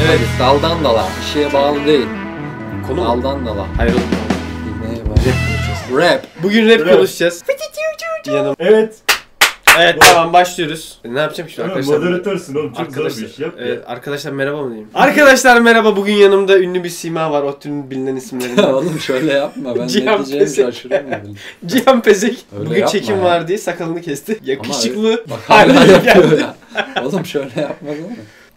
Evet daldan dala. Bir şeye bağlı değil. Konu mu? daldan dala. Hayır oğlum. Neye bağlı? Rap. Bugün rap Bravo. konuşacağız. Yanım. Evet. Evet tamam başlıyoruz. Ne yapacağım şimdi arkadaşlar? Moderatörsün oğlum. Çok zor bir iş. Arkadaşlar, Yap ya. evet, arkadaşlar merhaba mı diyeyim? Arkadaşlar merhaba bugün yanımda ünlü bir sima var. Ottü'nün bilinen isimlerinden. Oğlum şöyle yapma. Ben ne Cihan diyeceğimi Pesek. şaşırıyorum. Cihan Pezek. Öyle bugün yapma çekim ya. var diye sakalını kesti. Yakışıklı. Bak Hala hala yapıyor geldi. ya. Oğlum şöyle yapmadın mı?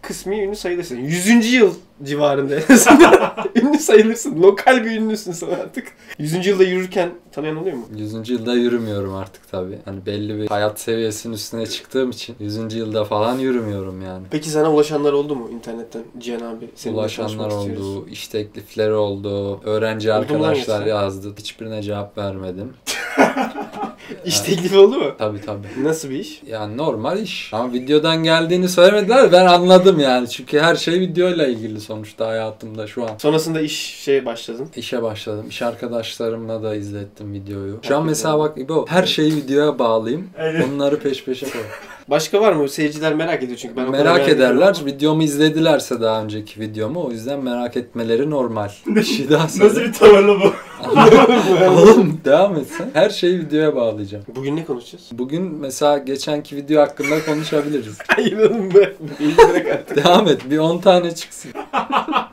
Kısmi ünlü sayılırsın. 100. yıl civarında en azından. ünlü sayılırsın. Lokal bir ünlüsün sen artık. 100. yılda yürürken tanıyan oluyor mu? 100. yılda yürümüyorum artık tabii. Hani belli bir hayat seviyesinin üstüne çıktığım için 100. yılda falan yürümüyorum yani. Peki sana ulaşanlar oldu mu internetten Cihan abi? seninle Ulaşanlar tanışmak istiyoruz. oldu, iş teklifleri oldu, öğrenci Oldu mu arkadaşlar hangisi? yazdı. Hiçbirine cevap vermedim. İş teklifi oldu mu? Tabii tabii. Nasıl bir iş? Yani normal iş. Ama videodan geldiğini söylemediler de ben anladım yani. Çünkü her şey videoyla ilgili sonuçta hayatımda şu an. Sonrasında iş şeye başladın. İşe başladım. İş arkadaşlarımla da izlettim videoyu. Şu Hakikaten. an mesela bak İbo her şeyi videoya bağlayayım. Evet. Onları peş peşe koy. Başka var mı? Seyirciler merak ediyor çünkü. Ben o kadar merak ederler. ediyorum. Videomu izledilerse daha önceki videomu. O yüzden merak etmeleri normal. Bir şey daha Nasıl söyle. bir tavırlı bu? Oğlum devam etsen. Her şeyi videoya bağlayacağım. Bugün ne konuşacağız? Bugün mesela geçenki video hakkında konuşabiliriz. İnanın be. Bilgilere kadar. devam et. Bir 10 tane çıksın.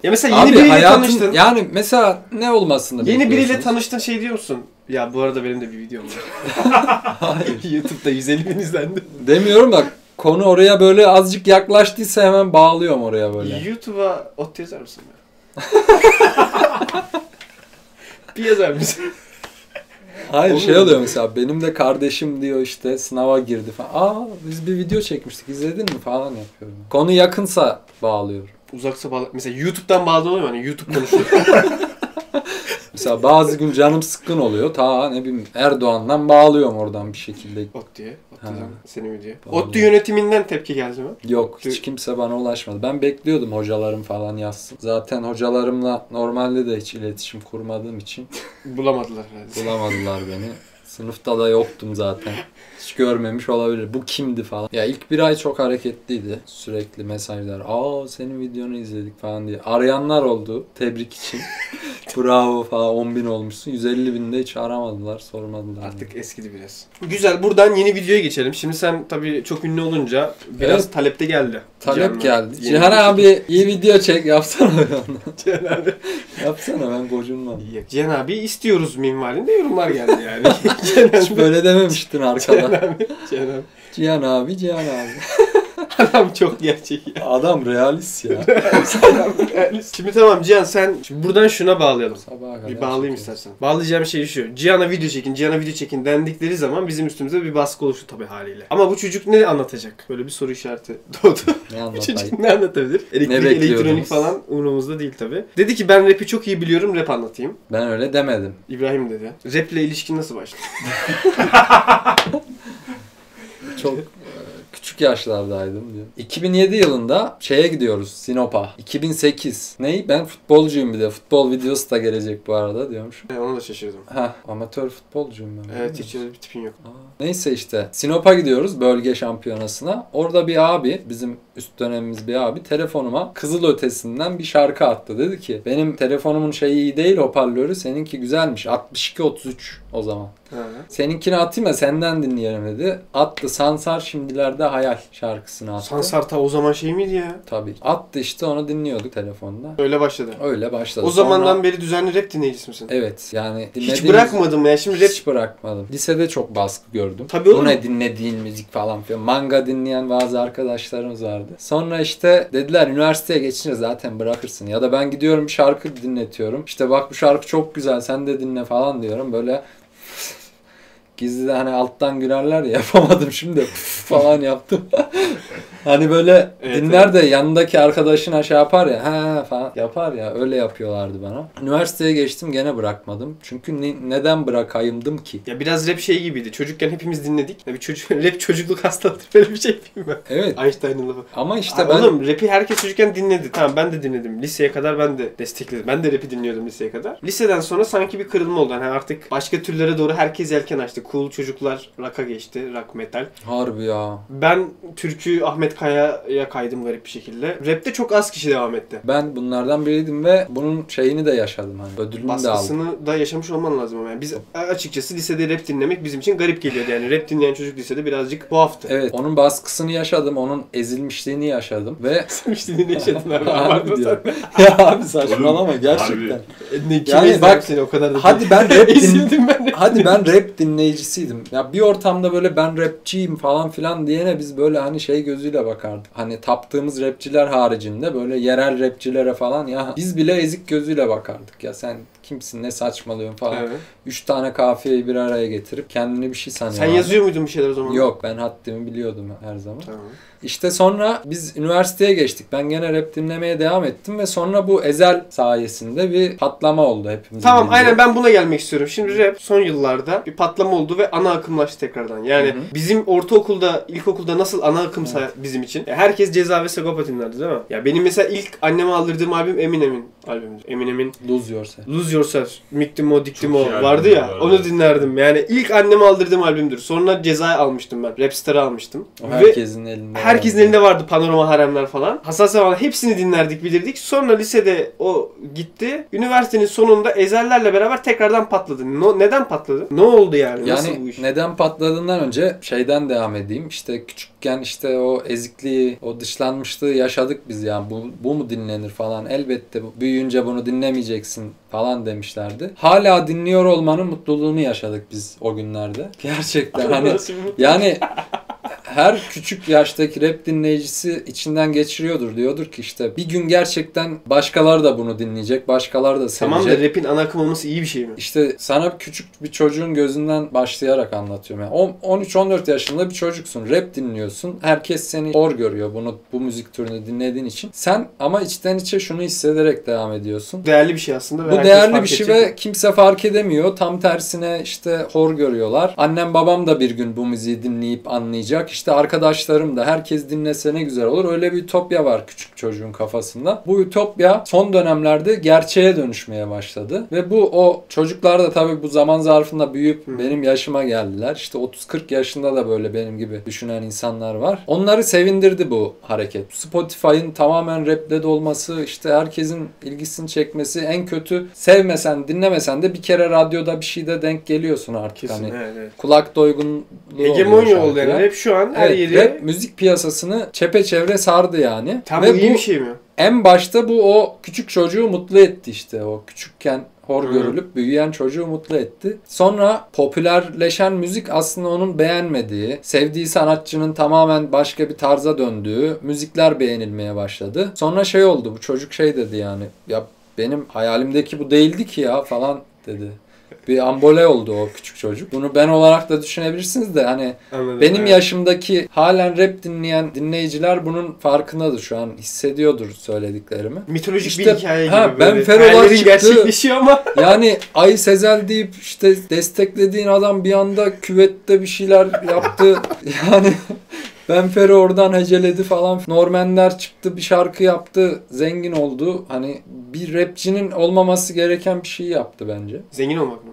ya mesela yeni biriyle tanıştın. Yani mesela ne olmasını yeni biriyle bekliyorsunuz? tanıştın şey diyor musun? Ya bu arada benim de bir videom var. Hayır. YouTube'da 150 bin izlendi. Demiyorum da konu oraya böyle azıcık yaklaştıysa hemen bağlıyorum oraya böyle. YouTube'a ot yazar mısın be? bir yazar mısın? Hayır Olur şey mu? oluyor mesela benim de kardeşim diyor işte sınava girdi falan. Aa biz bir video çekmiştik izledin mi falan yapıyorum. Konu yakınsa bağlıyorum. Uzaksa bağlı. Mesela YouTube'dan bağlı oluyor mu? Hani YouTube konuşuyor. Mesela bazı gün canım sıkkın oluyor. Ta ne bileyim Erdoğan'dan bağlıyorum oradan bir şekilde. ot diye. Ot Ha. yazar Seni mi diye. Bağlı. Ottu yönetiminden tepki geldi mi? Yok hiç kimse bana ulaşmadı. Ben bekliyordum hocalarım falan yazsın. Zaten hocalarımla normalde de hiç iletişim kurmadığım için Bulamadılar herhalde. Bulamadılar beni. Sınıfta da yoktum zaten. Hiç görmemiş olabilir. Bu kimdi falan. Ya ilk bir ay çok hareketliydi. Sürekli mesajlar. Aa senin videonu izledik falan diye. Arayanlar oldu. Tebrik için. Bravo falan 10 bin olmuşsun. 150 binde hiç aramadılar. Sormadılar. Artık eskidi biraz. Güzel buradan yeni videoya geçelim. Şimdi sen tabii çok ünlü olunca biraz Evet. talepte geldi. Talep Cihan'la. geldi. Yeni Cihan bir- abi iyi video çek yapsana onu. Cihan abi. yapsana ben gocunmam. Ya, Cihan abi istiyoruz minvalinde yorumlar geldi yani. Cihan Hiç abi. böyle dememiştin arkada. Cihan abi. Cihan abi, Cihan abi. Adam çok gerçek ya. Adam realist ya. Şimdi tamam Cihan sen şimdi buradan şuna bağlayalım. Sabaha kadar Bir bağlayayım çekeriz. istersen. Bağlayacağım şey şu. Cihan'a video çekin, Cihan'a video çekin dendikleri zaman bizim üstümüze bir baskı oluştu tabii haliyle. Ama bu çocuk ne anlatacak? Böyle bir soru işareti doğdu. Ne Bu anlatayım? çocuk ne anlatabilir? Elektrik, bekliyoruz? elektronik falan umurumuzda değil tabi. Dedi ki ben rap'i çok iyi biliyorum rap anlatayım. Ben öyle demedim. İbrahim dedi. Rap'le ilişkin nasıl başladı? Çok e, küçük yaşlardaydım diyor. 2007 yılında şeye gidiyoruz Sinop'a. 2008. Ney? Ben futbolcuyum bir de. Futbol videosu da gelecek bu arada diyormuşum. Ben ona da şaşırdım. Hah amatör futbolcuyum ben. Evet Değil mi? hiç öyle bir tipin yok. Aa. Neyse işte Sinop'a gidiyoruz bölge şampiyonasına. Orada bir abi bizim üst dönemimiz bir abi telefonuma Kızıl Ötesi'nden bir şarkı attı. Dedi ki benim telefonumun şeyi iyi değil hoparlörü seninki güzelmiş. 62-33 o zaman. Ha. Seninkini atayım da senden dinleyelim dedi. Attı Sansar şimdilerde hayal şarkısını attı. Sansarta o zaman şey miydi ya? Tabii. Attı işte onu dinliyorduk telefonda. Öyle başladı. Öyle başladı. O zamandan beri düzenli rap dinleyicisi misin? Sonra- Evet yani Hiç dinlediğimiz- bırakmadım ya. Şimdi rap Hiç bırakmadım. Lisede çok baskı gördüm. Tabii oğlum. Bu ne dinlediğin müzik falan filan. Manga dinleyen bazı arkadaşlarımız vardı. Sonra işte dediler üniversiteye geçince zaten bırakırsın. Ya da ben gidiyorum bir şarkı dinletiyorum. İşte bak bu şarkı çok güzel sen de dinle falan diyorum. Böyle gizli de hani alttan gülerler ya yapamadım şimdi falan yaptım. hani böyle Evet, dinler de yanındaki arkadaşına şey yapar ya ha falan yapar ya öyle yapıyorlardı bana. Üniversiteye geçtim gene bırakmadım. Çünkü ne- neden bırakayımdım ki? Ya biraz rap şey gibiydi. Çocukken hepimiz dinledik. Ya bir çocuk rap çocukluk hastalığı böyle bir şey değil mi? Evet Einstein'ın lafı. ama işte İşte ben Oğlum rapi herkes çocukken dinledi. Tamam ben de dinledim. Liseye kadar ben de destekledim. Ben de rapi dinliyordum liseye kadar. Liseden sonra sanki bir kırılma oldu. Hani artık başka türlere doğru herkes yelken açtı. cool çocuklar rock'a geçti. Rock metal. Harbi ya. Ben türkü Ahmet Kaya'ya kaydım garip bir şekilde. Rap'te çok az kişi devam etti. Ben bunlardan biriydim ve bunun şeyini de yaşadım hani. Ödülünü de aldım. Baskısını da yaşamış olman lazım ama yani. Biz açıkçası lisede rap dinlemek bizim için garip geliyordu yani. Rap dinleyen çocuk lisede birazcık tuhaftı. Evet, onun baskısını yaşadım, onun ezilmişliğini yaşadım ve İşte ne yaşadın abi? Harbi Abartma sen. diyorum. ya abi saçmalama Oğlum, gerçekten. Ne, kim Yani ezdi bak- abi seni o kadar da. Hadi ben rap din- Ezildim ben. Hadi ben rap dinleyicisiydim. Ya bir ortamda böyle ben rapçiyim falan filan diyene biz böyle hani şey gözüyle bakardık. Hani taptığımız rapçiler haricinde böyle yerel rapçilere falan ya biz bile ezik gözüyle bakardık. Ya sen kimsin ne saçmalıyorsun falan. Evet. Üç tane kafiyeyi bir araya getirip kendini bir şey sanıyor. Sen abi. yazıyor muydun bir şeyler o zaman? Yok ben haddimi biliyordum her zaman. Tamam. İşte sonra biz üniversiteye geçtik. Ben gene rap dinlemeye devam ettim ve sonra bu Ezel sayesinde bir patlama oldu hepimizin. Tamam bildiği. aynen ben buna gelmek istiyorum. Şimdi rap son yıllarda bir patlama oldu ve ana akımlaştı tekrardan. Yani Hı hı. bizim ortaokulda, ilkokulda nasıl ana akımsa Evet. bizim için. Ya Herkes Ceza ve Sagopa dinlerdi değil mi? Ya benim mesela ilk anneme aldırdığım albüm Eminem'in albümüdür. Eminem'in Lose Yourself. Lose Yourself, Mick Dimo, Dick Çok Dimo iyi albüm vardı ya. bu arada. Onu dinlerdim. Yani ilk anneme aldırdığım albümdür. Sonra Ceza almıştım ben. Rapstar'ı almıştım. O Ve herkesin elinde. Herkesin vardı. elinde vardı panorama haremler falan. Hassas falan hepsini dinlerdik bilirdik. Sonra lisede o gitti. Üniversitenin sonunda ezellerle beraber tekrardan patladı. No, neden patladı? Ne oldu yani? Nasıl bu Yani iş? neden patladığından önce şeyden devam edeyim. İşte küçükken işte o ezikliği, o dışlanmışlığı yaşadık biz yani. Bu, bu mu dinlenir falan. Elbette bu- büyüyünce bunu dinlemeyeceksin falan demişlerdi. Hala dinliyor olmanın mutluluğunu yaşadık biz o günlerde. Gerçekten hani Nasıl bu? Yani her küçük yaştaki rap dinleyicisi içinden geçiriyordur. Diyordur ki işte bir gün gerçekten başkaları da bunu dinleyecek. Başkaları da sevecek. Tamam da rapin ana akım olması iyi bir şey mi? İşte sana küçük bir çocuğun gözünden başlayarak anlatıyorum. Yani on- 13-14 yaşında bir çocuksun. Rap dinliyorsun. Herkes seni hor görüyor bunu bu müzik türünü dinlediğin için. Sen ama içten içe şunu hissederek devam ediyorsun. Değerli bir şey aslında. ve Bu herkes değerli fark bir şey edecek. ve kimse fark edemiyor. Tam tersine işte hor görüyorlar. Annem babam da bir gün bu müziği dinleyip anlayacak. İşte arkadaşlarım da herkes dinlese ne güzel olur. Öyle bir ütopya var küçük çocuğun kafasında. Bu ütopya son dönemlerde gerçeğe dönüşmeye başladı. Ve bu o çocuklar da tabii bu zaman zarfında büyüyüp Hı. benim yaşıma geldiler. İşte 30-40 yaşında da böyle benim gibi düşünen insanlar var. Onları sevindirdi bu hareket. Spotify'ın tamamen raple dolması, işte herkesin ilgisini çekmesi, en kötü sevmesen, dinlemesen de bir kere radyoda bir şeyde denk geliyorsun artık. Kesin Hani evet, evet. kulak doygunluğu Hegemonya oluyor oldu yani. şarkıya. Rap şu an her Evet, yeri... rap müzik piyasasını çepeçevre sardı yani. Tam Ve iyi bu bir şey mi? en başta bu o küçük çocuğu mutlu etti işte. O küçükken hor Hı. görülüp büyüyen çocuğu mutlu etti. Sonra popülerleşen müzik aslında onun beğenmediği, sevdiği sanatçının tamamen başka bir tarza döndüğü müzikler beğenilmeye başladı. Sonra şey oldu bu çocuk şey dedi yani ya benim hayalimdeki bu değildi ki ya falan dedi. Bir ambole oldu o küçük çocuk. Bunu ben olarak da düşünebilirsiniz de hani Anladım. benim evet. yaşımdaki halen rap dinleyen dinleyiciler bunun farkındadır şu an hissediyordur söylediklerimi. Mitolojik İşte- bir hikaye ha, gibi Ben böyle. Ferolar Hayallerin çıktı. gerçekleşiyor ama Yani Ay Sezel deyip işte desteklediğin adam bir anda küvette bir şeyler yaptı. Yani Ben Fero oradan heceledi falan. Normanler çıktı bir şarkı yaptı. Zengin oldu. Hani bir rapçinin olmaması gereken bir şey yaptı bence. Zengin olmak mı?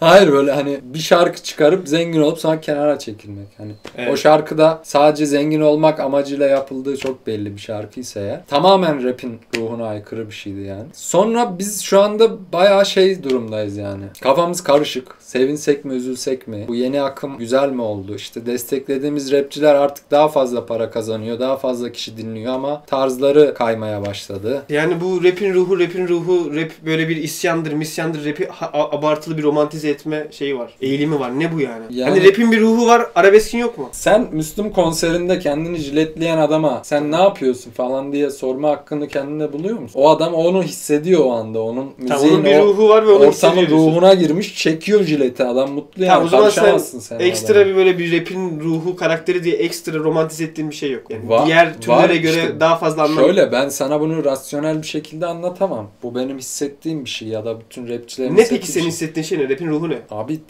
Hayır böyle hani bir şarkı çıkarıp zengin olup sonra kenara çekilmek. Hani Evet. O şarkıda sadece zengin olmak amacıyla yapıldığı çok belli bir şarkıysa eğer. Tamamen rapin ruhuna aykırı bir şeydi yani. Sonra biz şu anda bayağı şey durumdayız yani. Kafamız karışık. Sevinsek mi üzülsek mi? Bu yeni akım güzel mi oldu? İşte desteklediğimiz rapçiler artık daha fazla para kazanıyor. Daha fazla kişi dinliyor ama tarzları kaymaya başladı. Yani bu rapin ruhu, rapin ruhu, rap böyle bir isyandır, misyandır, rapi ha- a- abartılı bir romantize etme şeyi var. Eğilimi var. Ne bu yani? Yani- Hani rapin bir ruhu var, arabeskin yok mu? Sen Müslüm konserinde kendini jiletleyen adama sen ne yapıyorsun falan diye sorma hakkını kendine buluyor musun? O adam onu hissediyor o anda. Onun Tamam, müziğin onun bir o- ruhu var ve onu ortamın hissediyor diyorsun. ruhuna girmiş çekiyor jileti adam mutlu yani Tamam, o zaman sen karışamazsın sen, Ekstra adama. bir böyle bir rapin ruhu karakteri diye ekstra romantize ettiğin bir şey yok. Yani Var- diğer var türlere göre işte. daha fazla anlam. Şöyle ben sana bunu rasyonel bir şekilde anlatamam. Bu benim hissettiğim bir şey ya da bütün rapçilerin ne hissettiği peki senin bir şey. hissettiğin şey ne? Rapin ruhu ne? Abi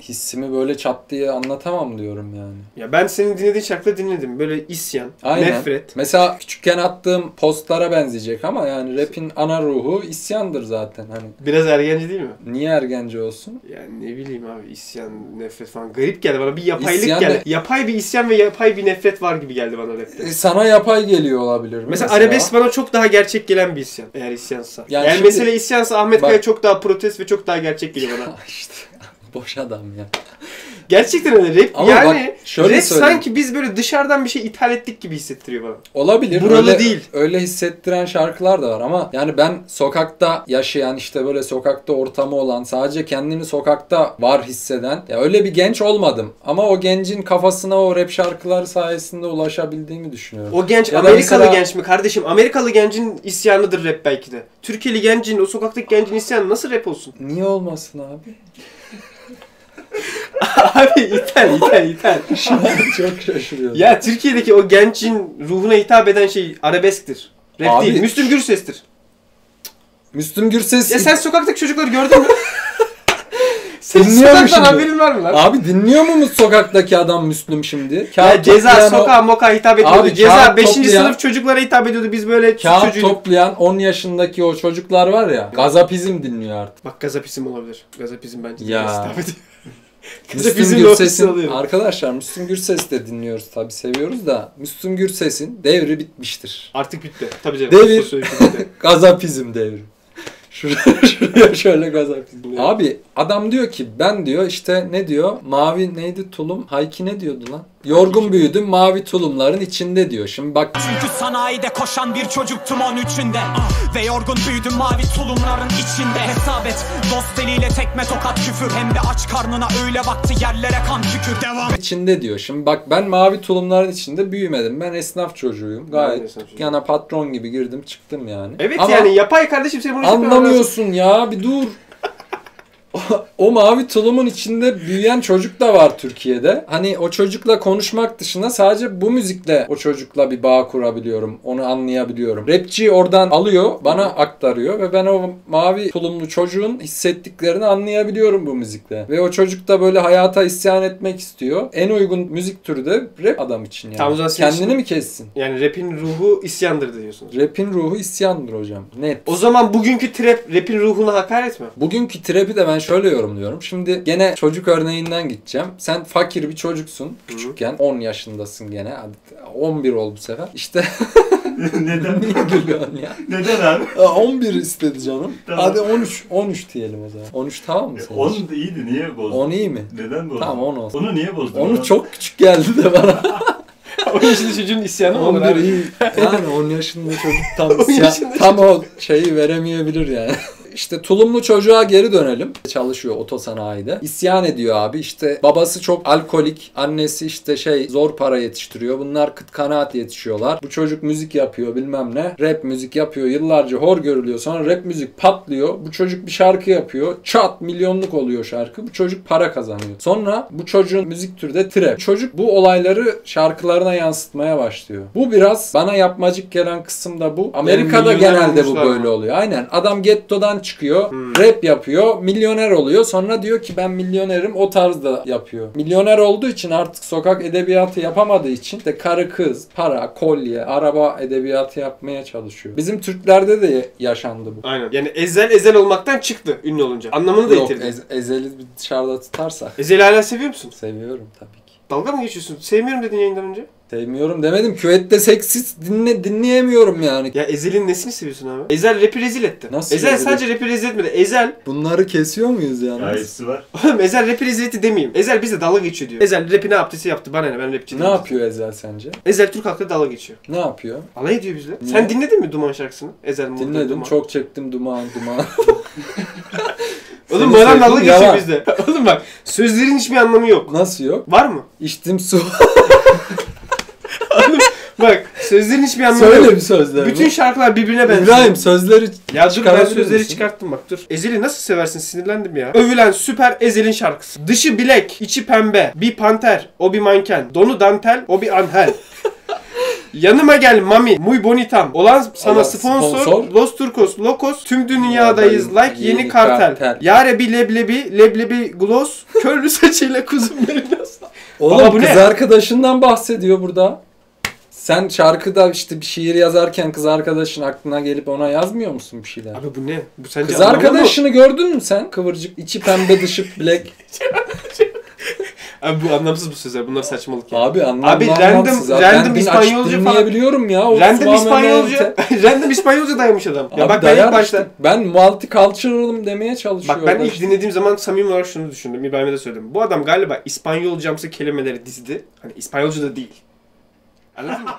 hissimi böyle çat diye anlatamam diyorum yani. Ya ben senin dinlediğin şarkıda dinledim. Böyle isyan, Aynen. nefret. Mesela küçükken attığım postlara benzeyecek ama yani rap'in ana ruhu isyandır zaten. Hani Biraz ergenci değil mi? niye ergenci olsun? Yani ne bileyim abi isyan, nefret falan. Garip geldi bana. Bir yapaylık İsyan geldi. da- Yapay bir isyan ve yapay bir nefret var gibi geldi bana rapte. E, Sana yapay geliyor olabilir. Mesela arabesk bana çok daha gerçek gelen bir isyan. Eğer isyansa. Yani Yani, şimdi- mesele isyansa Ahmet Bak- Kaya çok daha protest ve çok daha gerçek geliyor bana. işte boş adam ya. Gerçekten öyle rap Ama yani bak, şöyle söyleyeyim. rap sanki biz böyle dışarıdan bir şey ithal ettik gibi hissettiriyor bana. Olabilir. Buralı öyle, değil. Öyle hissettiren şarkılar da var ama yani ben sokakta yaşayan işte böyle sokakta ortamı olan sadece kendini sokakta var hisseden ya öyle bir genç olmadım ama o gencin kafasına o rap şarkılar sayesinde ulaşabildiğimi düşünüyorum. O genç Ya da Amerikalı mesela- genç mi kardeşim? Amerikalı gencin isyanıdır rap belki de. Türkiye'li gencin, o sokaktaki gencin isyanı nasıl rap olsun? Niye olmasın abi? Abi ithal, ithal, ithal. Şimdi çok şaşırıyorum. ya Türkiye'deki o gencin ruhuna hitap eden şey arabesktir. Rap Abi- değil, Müslüm Gürses'tir. Müslüm Gürses Ya sen sokaktaki çocukları gördün mü? Senin Dinliyor mu sokaktan şimdi? haberin var mı lan? Abi dinliyor mu sokaktaki adam Müslüm şimdi? ya Kağıt ceza toplayan o- sokağa moka hitap ediyordu. Abi ceza kağıt 5. toplayan- sınıf çocuklara hitap ediyordu. Biz böyle Kağıt çocuğu... toplayan 10 yaşındaki o çocuklar var ya gazapizm dinliyor artık. Bak gazapizm olabilir. Gazapizm bence Ya. ya. hitap ediyor. Müslüm Gazapizmle ofisi Gürses'in alıyorum. arkadaşlar Müslüm Gürses de dinliyoruz tabi seviyoruz da Müslüm Gürses'in devri bitmiştir. Artık bitti. Tabii canım. Devir. Sosyolojik bitti. Gazapizm devri. Şuraya, şuraya şöyle gazapizm. devri. Abi adam diyor ki ben diyor işte ne diyor mavi neydi tulum hayki ne diyordu lan? Yorgun büyüdüm mavi tulumların içinde diyor. Şimdi bak Çünkü sanayide koşan bir çocuktum 13'ünde Ah, Ve yorgun büyüdüm mavi tulumların içinde Hesap et dost eliyle tekme tokat küfür Hem de aç karnına öyle baktı yerlere kan tükür Devam içinde diyor. Şimdi bak ben mavi tulumların içinde büyümedim. Ben esnaf çocuğuyum. de Gayet esnaf çocuğuyum. yana patron gibi girdim çıktım yani. Evet Ama- yani yapay kardeşim seni bunu Anlamıyorsun ya bir dur. O- o mavi tulumun içinde büyüyen çocuk da var Türkiye'de. Hani o çocukla konuşmak dışında sadece bu müzikle o çocukla bir bağ kurabiliyorum. Onu anlayabiliyorum. Rapçi oradan alıyor, bana aktarıyor ve ben o mavi tulumlu çocuğun hissettiklerini anlayabiliyorum bu müzikle. Ve o çocuk da böyle hayata isyan etmek istiyor. En uygun müzik türü de rap adam için yani. Tamam, o zaman senin Kendini için- mi kessin? Yani rapin ruhu isyandır diyorsunuz. Rap'in ruhu isyandır hocam. Net. O zaman bugünkü trap rapin ruhuna hakaret mi? Bugünkü trap'i de ben şöyle yorumluyorum. Şimdi gene çocuk örneğinden gideceğim. Sen fakir bir çocuksun küçükken. 10 yaşındasın gene. Hadi 11 ol bu sefer. İşte Neden? niye gülüyorsun ya? Neden abi? Aa, 11 istedi canım. Tamam. E, Hadi 13 13 diyelim o zaman. 13 tamam mı senin? 10 iyiydi niye bozdun? 10 iyi mi? Neden bozdun? Tamam 10 olsun. Onu niye bozdun? Onu lan? çok küçük geldi de bana. o yaşında çocuğun isyanı mı olur 11 abi? iyi. Yani 10 yaşında çocuk tam, 10 isyan- yaşında tam o şeyi veremeyebilir yani. İşte tulumlu çocuğa geri dönelim. Çalışıyor otosanayide. İsyan ediyor abi. İşte babası çok alkolik. Annesi işte şey zor para yetiştiriyor. Bunlar kıt kanaat yetişiyorlar. Bu çocuk müzik yapıyor bilmem ne. Rap müzik yapıyor. Yıllarca hor görülüyor. Sonra rap müzik patlıyor. Bu çocuk bir şarkı yapıyor. Çat milyonluk oluyor şarkı. Bu çocuk para kazanıyor. Sonra bu çocuğun müzik türü de trap. Çocuk bu olayları şarkılarına yansıtmaya başlıyor. Bu biraz bana yapmacık gelen kısım da bu. Amerika'da milyoner genelde bu olmuşlar böyle mı? oluyor. Aynen. Adam gettodan çıkıyor. Hmm. Rap yapıyor. Milyoner oluyor. Sonra diyor ki ben milyonerim. O tarzda yapıyor. Milyoner olduğu için artık sokak edebiyatı yapamadığı için de karı kız, para, kolye, araba edebiyatı yapmaya çalışıyor. Bizim Türklerde de yaşandı bu. Aynen. Yani ezel ezel olmaktan çıktı ünlü olunca. Anlamını da Yok, yitirdi. Ez- ezeli bir dışarıda tutarsak. Ezel'i hala seviyor musun? Seviyorum tabii ki. Dalga mı geçiyorsun? Sevmiyorum dedin yayından önce. Sevmiyorum demedim. Küvette seksiz dinle, dinleyemiyorum yani. Ya Ezel'in nesini seviyorsun abi? Ezel rapi rezil etti. Nasıl Ezel rezil sadece rapi rezil etmedi. Ezel, Bunları kesiyor muyuz yani? Gayesi var. oğlum Ezel rapi rezil etti demeyeyim. Ezel bize dalga geçiyor diyor. Ezel rapi ne yaptıysa yaptı. Bana ne ben rapçi Ne değilim. yapıyor Ezel sence? Ezel Türk halkıyla dalga geçiyor. Ne yapıyor? Alay ediyor bizle. Niye? Sen dinledin mi Duman şarkısını? Ezel Mumlu Dinledim. Duman. Çok çektim duman duman. Oğlum Seni bana dalga sevdim, geçiyor yalan. bizde. Oğlum bak sözlerin hiçbir anlamı yok. Nasıl yok? Var mı? İçtim su. Bak sözlerin hiçbir anlamı Söyle yok. bir sözler. Bütün şarkılar birbirine benziyor. İbrahim sözleri Ya dur ben çıkarabilir sözleri misin? çıkarttım bak dur. Ezeli nasıl seversin sinirlendim ya. Övülen süper Ezel'in şarkısı. Dışı bilek, içi pembe. Bir panter, o bir manken. Donu dantel, o bir anhel. Yanıma gel mami, muy bonitam. Olan sana Olan sponsor, sponsor. Los Turcos, Locos, tüm dünyadayız. Dünyadayız. Like yeni, Yeni kartel. kartel. Yare bir leblebi, leblebi gloss, körlü saçıyla kuzum benim nasıl? Oğlum Baba bu kız ne? arkadaşından bahsediyor burada. Sen şarkıda işte bir şiir yazarken kız arkadaşın aklına gelip ona yazmıyor musun bir şeyler? Abi bu ne? Bu sence Kız anlamlı mı? arkadaşını gördün mü sen? Kıvırcık, içi pembe, dışı black. Abi bu anlamsız bu sözler. Bunlar saçmalık ya. Abi anlamlı Abi random- anlamsız. abi. Ben random din- İspanyolca aç- falan. dinleyebiliyorum ya. O Random tamamen İspanyolca, realite. random İspanyolca dayamış adam. Ya Abi bak ben ilk dayar başta işte. Ben multicultural'ım demeye çalışıyorum. Bak ben ilk işte. dinlediğim zaman samimi olarak şunu düşündüm. İbrahim'e de söyledim. Bu adam galiba İspanyolcamsı kelimeleri dizdi. Hani İspanyolca da değil. Anladın mı?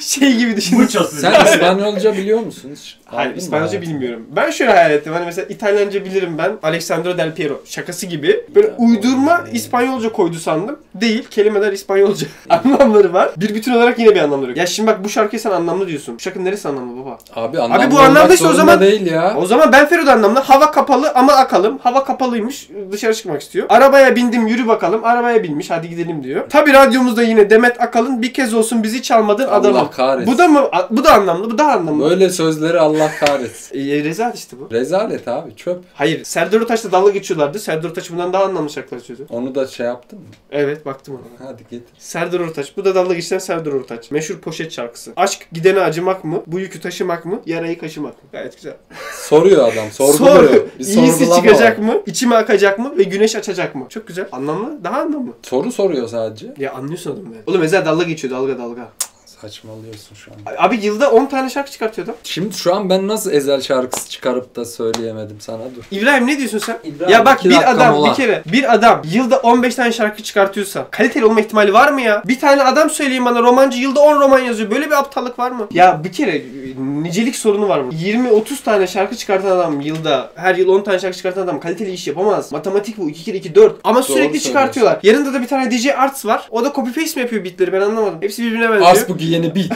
şey gibi düşündüm. Muçosu. Sen İspanyolca biliyor musun? hiç? Anladın Hayır mı İspanyolca hayatım? bilmiyorum. Ben şöyle hayal ettim. Hani mesela İtalyanca bilirim ben. Alessandro Del Piero şakası gibi. Böyle Ya, uydurma doğru. İspanyolca koydu sandım. Değil. Kelimeler İspanyolca. anlamları var. Bir bütün olarak yine bir anlamları yok. Ya şimdi bak bu şarkıyı sen anlamlı diyorsun. Bu şarkının neresi anlamlı baba? Abi, anlamlı bu olmak anlamdaysa o zorunda zaman- değil ya. O zaman ben Ferod anlamda hava kapalı ama akalım. Hava kapalıymış dışarı çıkmak istiyor. Arabaya bindim yürü bakalım. Arabaya binmiş hadi gidelim diyor. Tabi radyomuzda yine Demet Akalın bir kez olsun bizi çalmadın Allah adamım. kahretsin. Bu da mı? Bu da anlamlı. Bu da anlamlı. Böyle sözleri Allah kahretsin. E, rezalet işte bu. Rezalet abi çöp. Hayır. Serdar Ortaç'la dalga geçiyorlardı. Serdar Ortaç bundan daha anlamlı şarkılar söylüyor. Onu da şey yaptın mı? Evet baktım ona. Hadi getir. Serdar Ortaç. Bu da dalga geçen Serdar Ortaç. Meşhur poşet şarkısı. Aşk gidene acımak mı? Bu yükü taşımak mı? Yarayı kaşımak mı? Gayet güzel. Soruyor adam, sorguluyor. Soru. Bir İyisi sorgulama çıkacak var. mı? İçime akacak mı? Ve güneş açacak mı? Çok güzel. Anlamlı. Daha anlamlı. Soru soruyor sadece. Ya anlıyorsun adamı ya. Oğlum Ezel dalga geçiyor dalga dalga. Saçmalıyorsun şu an. Abi yılda 10 tane şarkı çıkartıyor adam. Şimdi şu an ben nasıl ezel şarkısı çıkarıp da söyleyemedim sana dur. İbrahim ne diyorsun sen? İbrahim, ya bak iki bir dakika adam mola. bir kere bir adam yılda 15 tane şarkı çıkartıyorsa kaliteli olma ihtimali var mı ya? Bir tane adam söyleyeyim bana romancı yılda 10 roman yazıyor. Böyle bir aptallık var mı? Ya bir kere e, nicelik sorunu var burada. 20-30 tane şarkı çıkartan adam yılda her yıl 10 tane şarkı çıkartan adam kaliteli iş yapamaz. Matematik bu 2 kere 2 4 ama sürekli söylüyorsun. çıkartıyorlar. Yanında da bir tane DJ Arts var. O da copy paste mi yapıyor bitleri ben anlamadım. Hepsi birbirine benziyor. As bu yeni bir.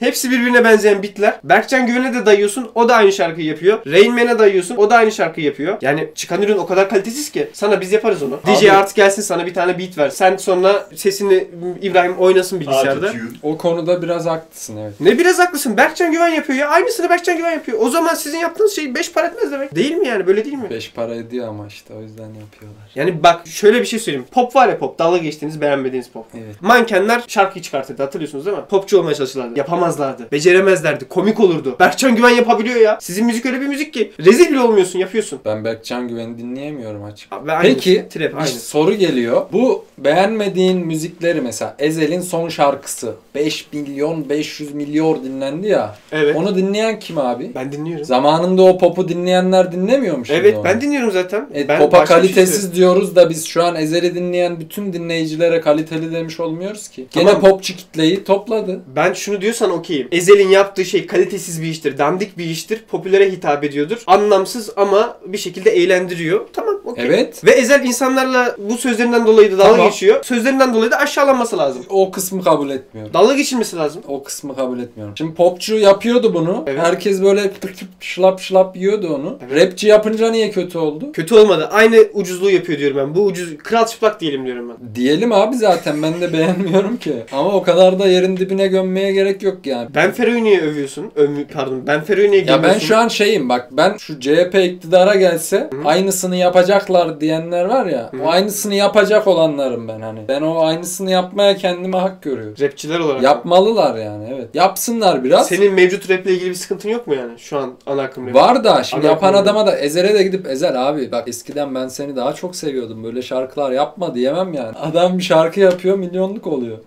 Hepsi birbirine benzeyen bitler. Berkcan Güven'e de dayıyorsun. O da aynı şarkıyı yapıyor. Rain Man'e dayıyorsun. O da aynı şarkıyı yapıyor. Yani çıkan ürün o kadar kalitesiz ki. Sana biz yaparız onu. DJ Abi- Art gelsin sana bir tane beat ver. Sen sonra sesini m, İbrahim oynasın bilgisayarda. Autotune. O konuda biraz haklısın evet. Ne biraz haklısın. Berkcan Güven yapıyor ya. Aynısını Berkcan Güven yapıyor. O zaman sizin yaptığınız şey 5 para etmez demek. Değil mi yani? Böyle değil mi? Beş para ediyor ama işte o yüzden yapıyorlar. Yani bak şöyle bir şey söyleyeyim. Pop var ya pop. Dalga geçtiğiniz beğenmediğiniz pop. Evet. Mankenler şarkıyı çıkartırdı hatırlıyorsunuz değil mi? Popçu olmaya çalışırlardı. Yapamazlardı. Beceremezlerdi. Komik olurdu. Berkcan Güven yapabiliyor ya. Sizin müzik öyle bir müzik ki. Rezil bile olmuyorsun yapıyorsun. Ben Berkcan Güven'i dinleyemiyorum açık. Abi, aynı. Peki Trap bir aynı. soru geliyor. Bu beğenmediğin müzikleri mesela Ezel'in son şarkısı 5 milyon 500 milyar dinlendi ya. Evet. Onu dinleyen kim abi? Ben dinliyorum. Zamanında o popu dinleyenler dinlemiyormuş. evet ben dinliyorum zaten. E, ben popa başka bir şey kalitesiz söylüyorum. diyoruz da biz şu an Ezhel'i dinleyen bütün dinleyicilere kaliteli demiş olmuyoruz ki. Gene Tamam. popçu kitleyi topladı. ben şunu diyorsan okeyim. Ezel'in yaptığı şey kalitesiz bir iştir, dandik bir iştir, popülere hitap ediyordur. Anlamsız ama bir şekilde eğlendiriyor. Tamam okey. Evet. Ve Ezel insanlarla bu sözlerinden dolayı da dalga Tamam. geçiyor. Sözlerinden dolayı da aşağılanması lazım. O kısmı kabul etmiyorum. Dalga geçilmesi lazım. O kısmı kabul etmiyorum. Şimdi popçu yapıyordu bunu. Evet. Herkes böyle tık tık şılap şılap yiyordu onu. Evet. Rapçi yapınca niye kötü oldu? Kötü olmadı. Aynı ucuzluğu yapıyor diyorum ben. Bu ucuz kral çıplak diyelim diyorum ben. Diyelim abi zaten ben de beğenmiyorum ki. Ama o kadar da yerin dibine gömmeye gerek yok yani. Ben Ferro'yu övüyorsun. Övmü- pardon. Ben Ferro'yu Ya ben şu an şeyim bak ben şu CHP iktidara gelse aynısını yapacaklar diyenler var ya Hı. o aynısını yapacak olanlarım ben hani. Ben o aynısını yapmaya kendime hak görüyorum. rapçiler olarak. Yapmalılar yani evet. Yapsınlar biraz. Senin mevcut raple ilgili bir sıkıntın yok mu yani şu an ana akım rap? Var da şimdi Ana yapan akım. adama da Ezer'e de gidip Ezer abi bak eskiden ben seni daha çok seviyordum böyle şarkılar yapma diyemem yani. Adam bir şarkı yapıyor milyonluk oluyor.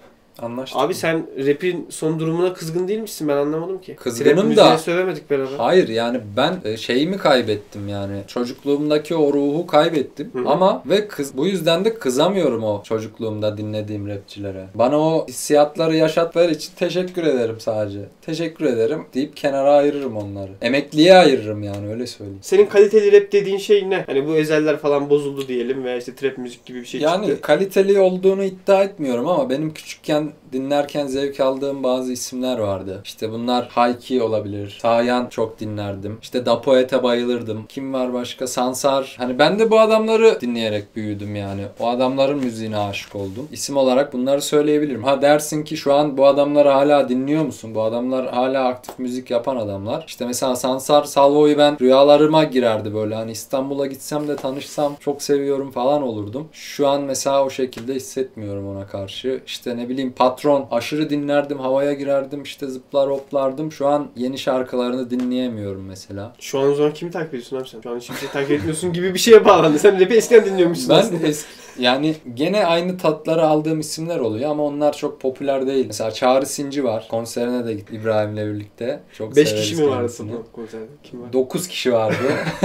Anlaştık Abi mı? sen rap'in son durumuna kızgın değil misin? Ben anlamadım ki. Kızgınım Rap da- müziğini söylemedik beraber. Hayır yani ben e, şeyimi kaybettim yani. Çocukluğumdaki o ruhu kaybettim. Hı. Ama ve kız bu yüzden de kızamıyorum o çocukluğumda dinlediğim rapçilere. Bana o hissiyatları yaşatları için teşekkür ederim sadece. Teşekkür ederim deyip kenara ayırırım onları. Emekliye ayırırım yani öyle söyleyeyim. Senin kaliteli rap dediğin şey ne? Hani bu ezeller falan bozuldu diyelim veya işte trap müzik gibi bir şey Yani çıktı. kaliteli olduğunu iddia etmiyorum ama benim küçükken ben dinlerken zevk aldığım bazı isimler vardı. İşte bunlar Hayki olabilir. Sayan çok dinlerdim. İşte Dapoet'e bayılırdım. Kim var başka? Sansar. Hani ben de bu adamları dinleyerek büyüdüm yani. O adamların müziğine aşık oldum. İsim olarak bunları söyleyebilirim. Ha dersin ki şu an bu adamları hala dinliyor musun? Bu adamlar hala aktif müzik yapan adamlar. İşte mesela Sansar Salvo'yu ben rüyalarıma girerdi böyle. Hani İstanbul'a gitsem de tanışsam çok seviyorum falan olurdum. Şu an mesela o şekilde hissetmiyorum ona karşı. İşte ne bileyim patron aşırı dinlerdim havaya girerdim işte zıplar hoplardım. Şu an yeni şarkılarını dinleyemiyorum mesela. Şu an o zaman kimi takip ediyorsun abi sen? Şu an hiçbir şey takip etmiyorsun gibi bir şeye bağlandı. Sen rapi eskiden dinliyormuşsun Ben aslında. eski yani gene aynı tatları aldığım isimler oluyor ama onlar çok popüler değil. Mesela Çağrı Sinci var. Konserine de gittik İbrahim'le birlikte. Çok 5 severiz kişi mi vardı kendisini. toplam konserde? Kim var? 9 kişi vardı.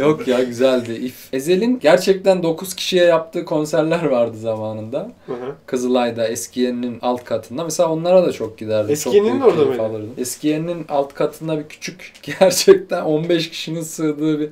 Yok ya güzeldi. If. Ezel'in gerçekten 9 kişiye yaptığı konserler vardı zamanında. Hı hı. Kızılay'da eskiyenin alt katında. Mesela onlara da çok giderdim. Eskiyenin çok büyük de orada keyif mıydı? alırdım. Eskiyenin alt katında bir küçük gerçekten 15 kişinin sığdığı bir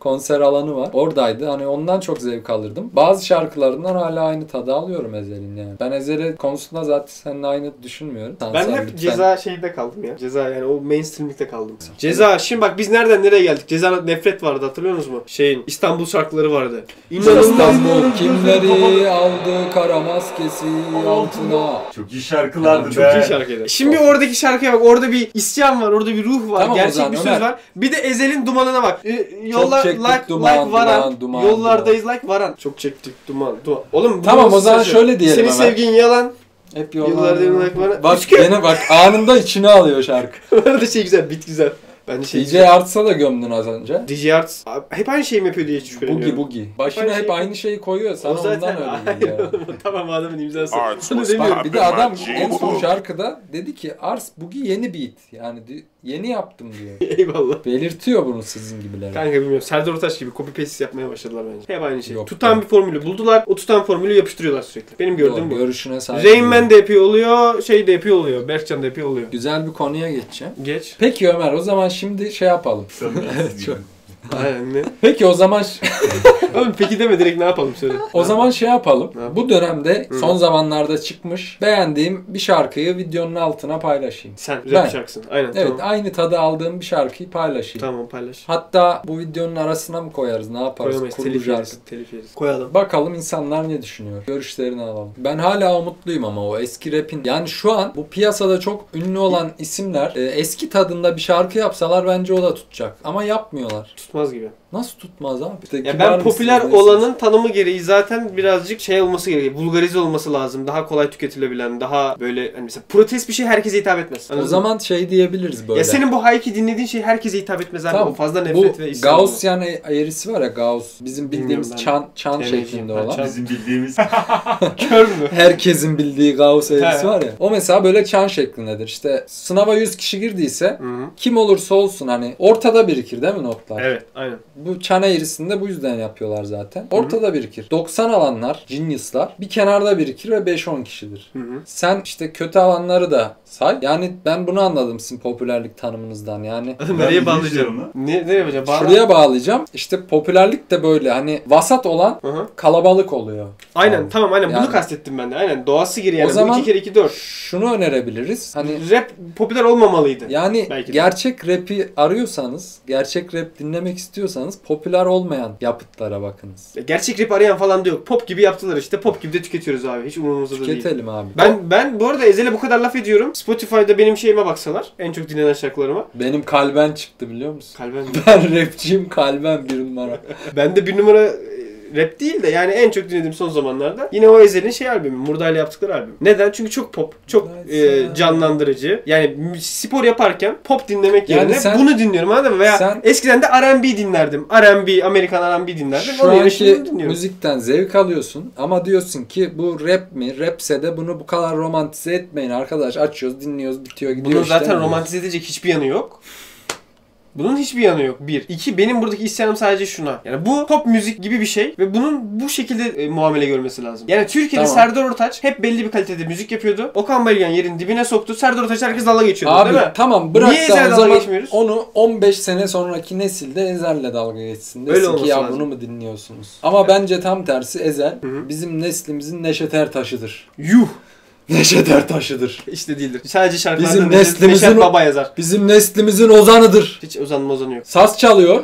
konser alanı var. Oradaydı. Hani ondan çok zevk alırdım. Bazı şarkılarından hala aynı tadı alıyorum Ezel'in yani. Ben Ezel'i konusunda zaten seninle aynı düşünmüyorum. Sen- Ben sen hep lütfen- ceza şeyde kaldım ya. Ceza yani o mainstreamlikte kaldım. Ceza şimdi bak biz nereden nereye geldik? Ceza nefret vardı hatırlıyor musunuz? Şeyin İstanbul şarkıları vardı. İnanılmaz. İstanbul kimleri aldı kara maskesi altına. Çok iyi şarkılardı be. Çok iyi şarkıydı. Şimdi oradaki şarkıya bak. Orada bir isyan var. Orada bir ruh var. Tamam o gerçek zaman, bir söz Ömer. var. Bir de Ezel'in dumanına bak. Ee, Yollar çektik like duman, like varan. duman, duman, Yollardayız like varan. Çok çektik duman. duman. Oğlum bu Tamam, nasıl o zaman söz ya? şöyle diyelim Senin hemen. sevgin yalan. Hep Yıllardayım like varan. Bak Üç kere- gene bak anında içine alıyor şarkı. Orada şey güzel. Bit güzel. Bence şey DJ Arts'a da gömdün az önce. DJ Arts abi hep aynı şeyi mi yapıyor diye hiç Bugi şüpheleniyorum. bugi. Başına Aynı hep şey- aynı şeyi koyuyor. Sana O zaten ondan öyle Hayır geliyor. oğlum, tamam adamın imzası. Arts Onu was demiyorum. pop. Bir de adam Abi, en son bu- şarkıda dedi ki Ars bugi yeni beat. Yani di- yeni yaptım diyor. Eyvallah. Belirtiyor bunu sizin gibiler. Kanka bilmiyorum. Serdar Ortaç gibi copy paste yapmaya başladılar bence. Hep aynı şey. Yok, tutan yok. bir formülü buldular. O tutan formülü yapıştırıyorlar sürekli. Benim gördüğüm Doğru, bu. görüşüne sahip. Rain Man de yapıyor oluyor, şey de yapıyor oluyor, Berkcan da yapıyor oluyor. Güzel bir konuya geçeceğim. Geç. Peki Ömer o zaman şimdi şey yapalım. Samimiyetsiz Çok- gibi. Aynen ne? Peki o zaman Oğlum peki deme direkt ne yapalım söyle. O zaman şey yapalım. Ne yap- Bu dönemde son zamanlarda çıkmış beğendiğim bir şarkıyı videonun altına paylaşayım. Sen Ben. rap şarkısın. Aynen Evet, tamam. aynı tadı aldığım bir şarkıyı paylaşayım. Tamam paylaş. Hatta bu videonun arasına mı koyarız? Ne yaparız? Koyamayız. Telif Kurgularız. yeriz. Telif yeriz. Koyalım. Bakalım insanlar ne düşünüyor? Görüşlerini alalım. Ben hala umutluyum ama o eski rapin. Yani şu an bu piyasada çok ünlü olan isimler e, eski tadında bir şarkı yapsalar bence o da tutacak. Ama yapmıyorlar. Tutmaz gibi. Nasıl tutmaz abi? Ya Kibar ben mısınız, popüler nesiniz? olanın tanımı gereği zaten birazcık şey olması gerekiyor. Vulgarize olması lazım. Daha kolay tüketilebilen, daha böyle hani mesela protest bir şey herkese hitap etmez. Anladın O mı? zaman şey diyebiliriz böyle. ya senin bu Hayki dinlediğin şey herkese hitap etmez abi. Tamam, O fazla Bu nefret ve isyan. olur. Gaussian e- eğrisi var ya Gauss. Bizim bildiğimiz Bilmiyorum ben. çan çan Temeyeceğim, şeklinde ben olan. çan- Bizim bildiğimiz kör mü? Herkesin bildiği Gauss eğrisi He. var ya. O mesela böyle çan şeklindedir. İşte sınava 100 kişi girdiyse Hı hı. kim olursa olsun hani ortada birikir değil mi notlar? Evet, aynen. Bu çan eğrisini de bu yüzden yapıyorlar zaten. Ortada birikir. 90 alanlar, genius'lar bir kenarda birikir ve 5-10 kişidir. Hı hı. Sen işte kötü alanları da say. Yani ben bunu anladım sizin popülerlik tanımınızdan. Yani Nereye bildiğim bağlayacağım? şey onu. Ne, nereye bağlayacağım? Bağla. Şuraya bağlayacağım. İşte popülerlik de böyle hani vasat olan Hı hı. kalabalık oluyor. Aynen Tamam. tamam aynen Yani- bunu kastettim ben de. Aynen doğası gir yani. O zaman- Bu 2 kere 2 4. Şunu önerebiliriz. Hani Rap popüler olmamalıydı. yani Belki de. gerçek rapi arıyorsanız, gerçek rap dinlemek istiyorsanız popüler olmayan yapıtlara bakınız. Ya Gerçek rap arayan falan da yok. Pop gibi yaptılar işte. Pop gibi de tüketiyoruz abi. Hiç umurumuzda da değil. Tüketelim abi. Ben ben bu arada Ezel'e bu kadar laf ediyorum. Spotify'da benim şeyime baksalar. En çok dinlenen şarkılarıma. Benim kalben çıktı biliyor musun? Kalben Ben rapçiyim kalben bir numara. ben de bir numara e, rap değil de yani en çok dinlediğim son zamanlarda yine o Ezel'in şey albümü. Murda'yla yaptıkları albüm. Neden? Çünkü çok pop. Çok e, canlandırıcı. Yani m- spor yaparken pop dinlemek Yani yerine sen- bunu dinliyorum anladın mı? Veya sen- eskiden de R&B dinlerdim. R&B, Amerikan R&B dinlerdim. Şu Onun yerine anki şimdi bunu dinliyorum. müzikten zevk alıyorsun ama diyorsun ki bu rap mi? Rapse de bunu bu kadar romantize etmeyin arkadaş. Açıyoruz, dinliyoruz, bitiyor, gidiyor. Bunun işte zaten diyoruz. romantize edecek hiçbir yanı yok. Bunun hiçbir yanı yok. Bir. İki, benim buradaki isyanım sadece şuna. Yani bu pop müzik gibi bir şey ve bunun bu şekilde e, muamele görmesi lazım. Yani Türkiye'de Tamam. Serdar Ortaç hep belli bir kalitede müzik yapıyordu. Okan Bayülgen yerin dibine soktu. Serdar Ortaç herkes dalga geçiyordu Abi değil mi? tamam bırak Niye da Ezhel'e o dalga zaman geçmiyoruz? onu 15 sene sonraki nesilde Ezel'le dalga geçsin. Öyle Desin ki olması ya lazım. bunu mu dinliyorsunuz? Ama bence tam tersi Ezel hı. bizim neslimizin Neşet Ertaş'ıdır. Yuh. Neşet Ertaş'ıdır. İşte değildir. Sadece şarkılarda Bizim Neşet- neslimizin Neşet o- Baba yazar. Bizim neslimizin ozanıdır. Hiç Ozan Mozan yok. Saz çalıyor,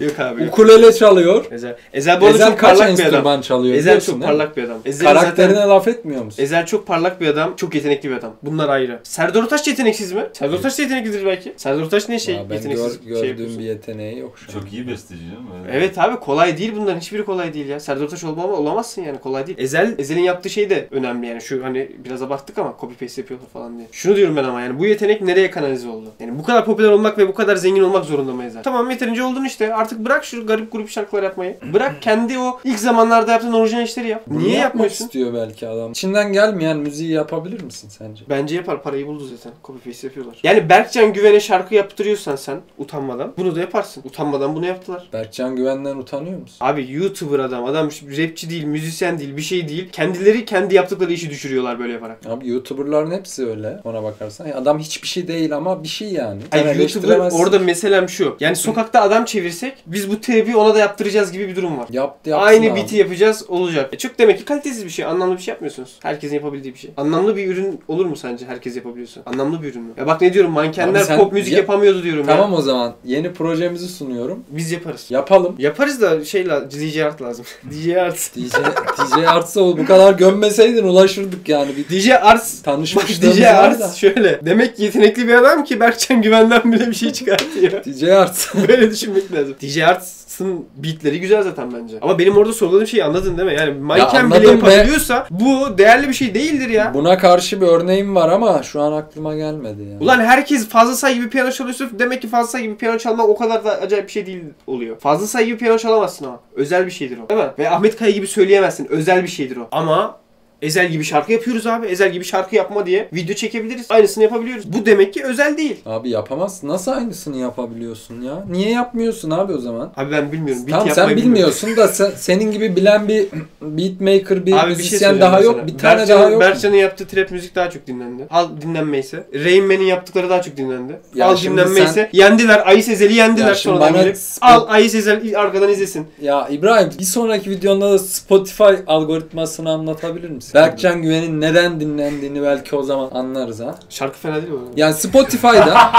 Yok abi yok. ukulele çalıyor. Ezel. Ezel bu arada Ezel çok kaç parlak bir adam. enstrüman çalıyor? Ezel biliyorsun çok değil mi? parlak bir adam. Ezel Karakterine zaten... laf etmiyor musun? Ezel çok parlak bir adam, çok yetenekli bir adam. Bunlar ayrı. Serdar Ortaç yeteneksiz mi? Serdar Ortaç da yeteneklidir belki. Serdar Ortaç ne şey Ya ben yeteneksiz gör- şey gördüğüm yapıyorsun? bir yeteneği yok şu an. Çok iyi besteci değil mi? Evet abi kolay değil bunların hiçbiri kolay değil ya. Serdar Ortaç olmama olamazsın yani kolay değil. Ezel Ezel'in yaptığı şey de önemli yani şu hani biraz abarttık ama copy paste yapıyorlar falan diye. Şunu diyorum ben ama yani bu yetenek nereye kanalize oldu? Yani bu kadar popüler olmak ve bu kadar zengin olmak zorunda mı Ezel? Tamam yeterince oldun işte. Artık bırak şu garip grup şarkılar yapmayı. Bırak kendi o ilk zamanlarda yaptığın orijinal işleri yap. Bunu Niye yapmak yapmıyorsun? istiyor belki adam. İçinden gelmeyen müziği yapabilir misin sence? Bence yapar. Parayı buldu zaten. Copy paste yapıyorlar. Yani Berkcan Güven'e şarkı yaptırıyorsan sen utanmadan bunu da yaparsın. Utanmadan bunu yaptılar. Berkcan Güven'den utanıyor musun? Abi YouTuber adam. Adam rapçi değil, müzisyen değil, bir şey değil. Kendileri kendi yaptıkları işi düşürüyorlar böyle yaparak. Abi YouTuber'ların hepsi öyle ona bakarsan. Ya Adam hiçbir şey değil ama bir şey yani. Sen Hayır YouTuber eleştiremezsin. orada meselem şu. Yani sokakta adam çevirsek biz bu terapiyi ona da yaptıracağız gibi bir durum var. Yaptı yapsın Aynı abi. biti yapacağız olacak. E çok demek ki kalitesiz bir şey. Anlamlı bir şey yapmıyorsunuz. Herkesin yapabildiği bir şey. Anlamlı bir ürün olur mu sence herkes yapabiliyorsa? Anlamlı bir ürün mü? Ya bak ne diyorum mankenler Abi sen- pop müzik Ya- yapamıyordu diyorum ya. Tamam o zaman yeni projemizi sunuyorum. Biz yaparız. Yapalım. Yaparız da şey la- DJ Art lazım. DJ Art. DJ, DJ Arts'a ol bu kadar gömmeseydin ulaşırdık yani. Bir DJ Art. Bak tanışmışlığımız DJ var da. Art şöyle. Demek ki yetenekli bir adam ki Berkcan Güven'den bile bir şey çıkartıyor. DJ Arts. Böyle düşünmek lazım. DJ Arts'ın beatleri güzel zaten bence. Ama benim orada sorguladığım şeyi anladın değil mi? Yani manken bile anladım be. yapabiliyorsa bu değerli bir şey değildir ya. Buna karşı bir örneğim var ama şu an aklıma gelmedi yani. Ulan herkes fazla say gibi piyano çalıyorsa demek ki fazla say gibi piyano çalmak o kadar da acayip bir şey değil oluyor. Fazla say gibi piyano çalamazsın ama. Özel bir şeydir o. Değil mi? Ve Ahmet Kaya gibi söyleyemezsin. Özel bir şeydir o. Ama Ezel gibi şarkı yapıyoruz abi. Ezel gibi şarkı yapma diye video çekebiliriz. Aynısını yapabiliyoruz. Bu demek ki özel değil. Abi yapamazsın. Nasıl aynısını yapabiliyorsun ya? Niye yapmıyorsun abi o zaman? Abi ben bilmiyorum. Beat tamam sen yapmayı bilmiyorum. bilmiyorsun da sen- senin gibi bilen bir beatmaker, bir Abi bir şey müzisyen söyleyeceğim daha sana. yok. Bir tane Berkcan'ın- daha yok. mu? Berkcan'ın yaptığı trap müzik daha çok dinlendi. Al dinlenmeyse. Rainman'in yaptıkları daha çok dinlendi. Ya Al şimdi dinlenmeyse. Yendiler. Ayis Ezel'i yendiler Ya şimdi sonradan bana- gelip. Al Ayis Ezel arkadan izlesin. Ya İbrahim bir sonraki videonda da Spotify algoritmasını anlatabilir misin? Berkcan Güven'in neden dinlendiğini belki o zaman anlarız ha. Şarkı fena değil bu arada. Yani Spotify'da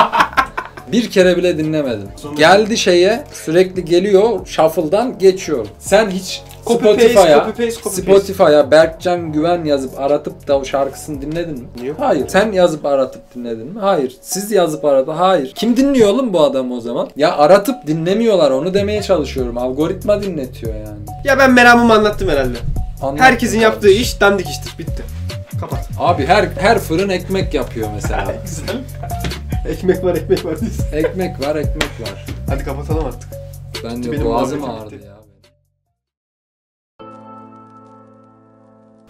bir kere bile dinlemedim. Sonra- Geldi şeye sürekli geliyor shuffle'dan geçiyor. Sen hiç Copy paste, Spotify'a copy paste, copy paste. Spotify'a Berkcan Güven yazıp aratıp da o şarkısını dinledin mi? Yok. Hayır. Sen yazıp aratıp dinledin mi? Hayır. Siz yazıp aradı. Hayır. Kim dinliyor oğlum bu adamı o zaman? Ya aratıp dinlemiyorlar onu demeye çalışıyorum. Algoritma dinletiyor yani. Ya ben meramımı anlattım herhalde. Anlattım Herkesin yaptığı kardeşim. iş dandik iştir. Bitti. Kapat. Abi her her fırın ekmek yapıyor mesela. Güzel. Ekmek var ekmek var. ekmek var, ekmek var. Hadi kapatalım artık. Ben de benim boğazım muhabbetim ağrıdı bitti. ya.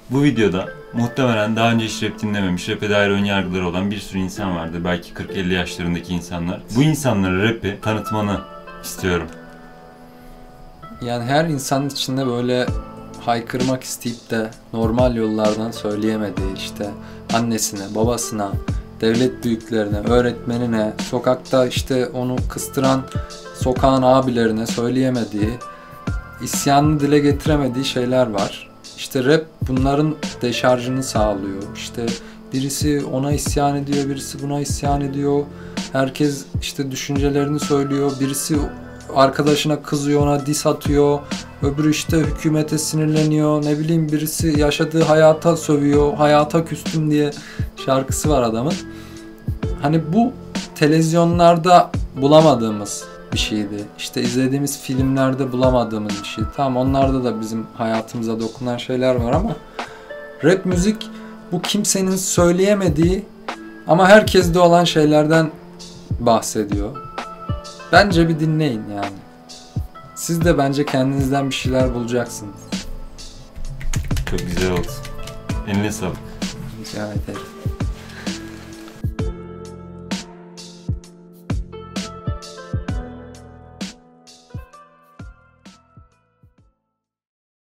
Bu videoda muhtemelen daha önce hiç rap dinlememiş, rap'e dair ön yargıları olan bir sürü insan vardı. Belki 40-50 yaşlarındaki insanlar. Bu insanlara rap'i tanıtmanı istiyorum. Yani her insanın içinde böyle haykırmak isteyip de normal yollardan söyleyemediği işte annesine, babasına, devlet büyüklerine, öğretmenine, sokakta işte onu kıstıran sokağın abilerine söyleyemediği, isyanını dile getiremediği şeyler var. İşte rap bunların deşarjını sağlıyor. İşte birisi ona isyan ediyor, birisi buna isyan ediyor. Herkes işte düşüncelerini söylüyor. Birisi arkadaşına kızıyor, ona dis atıyor. Öbürü işte hükümete sinirleniyor. Ne bileyim birisi yaşadığı hayata sövüyor. Hayata küstüm diye şarkısı var adamın. Hani bu televizyonlarda bulamadığımız bir şeydi. İşte izlediğimiz filmlerde bulamadığımız bir şey. Tamam onlarda da bizim hayatımıza dokunan şeyler var ama rap müzik bu kimsenin söyleyemediği ama herkeste olan şeylerden bahsediyor. Bence bir dinleyin yani. Siz de bence kendinizden bir şeyler bulacaksınız. Çok güzel oldu. Eline sağlık. Rica ederim.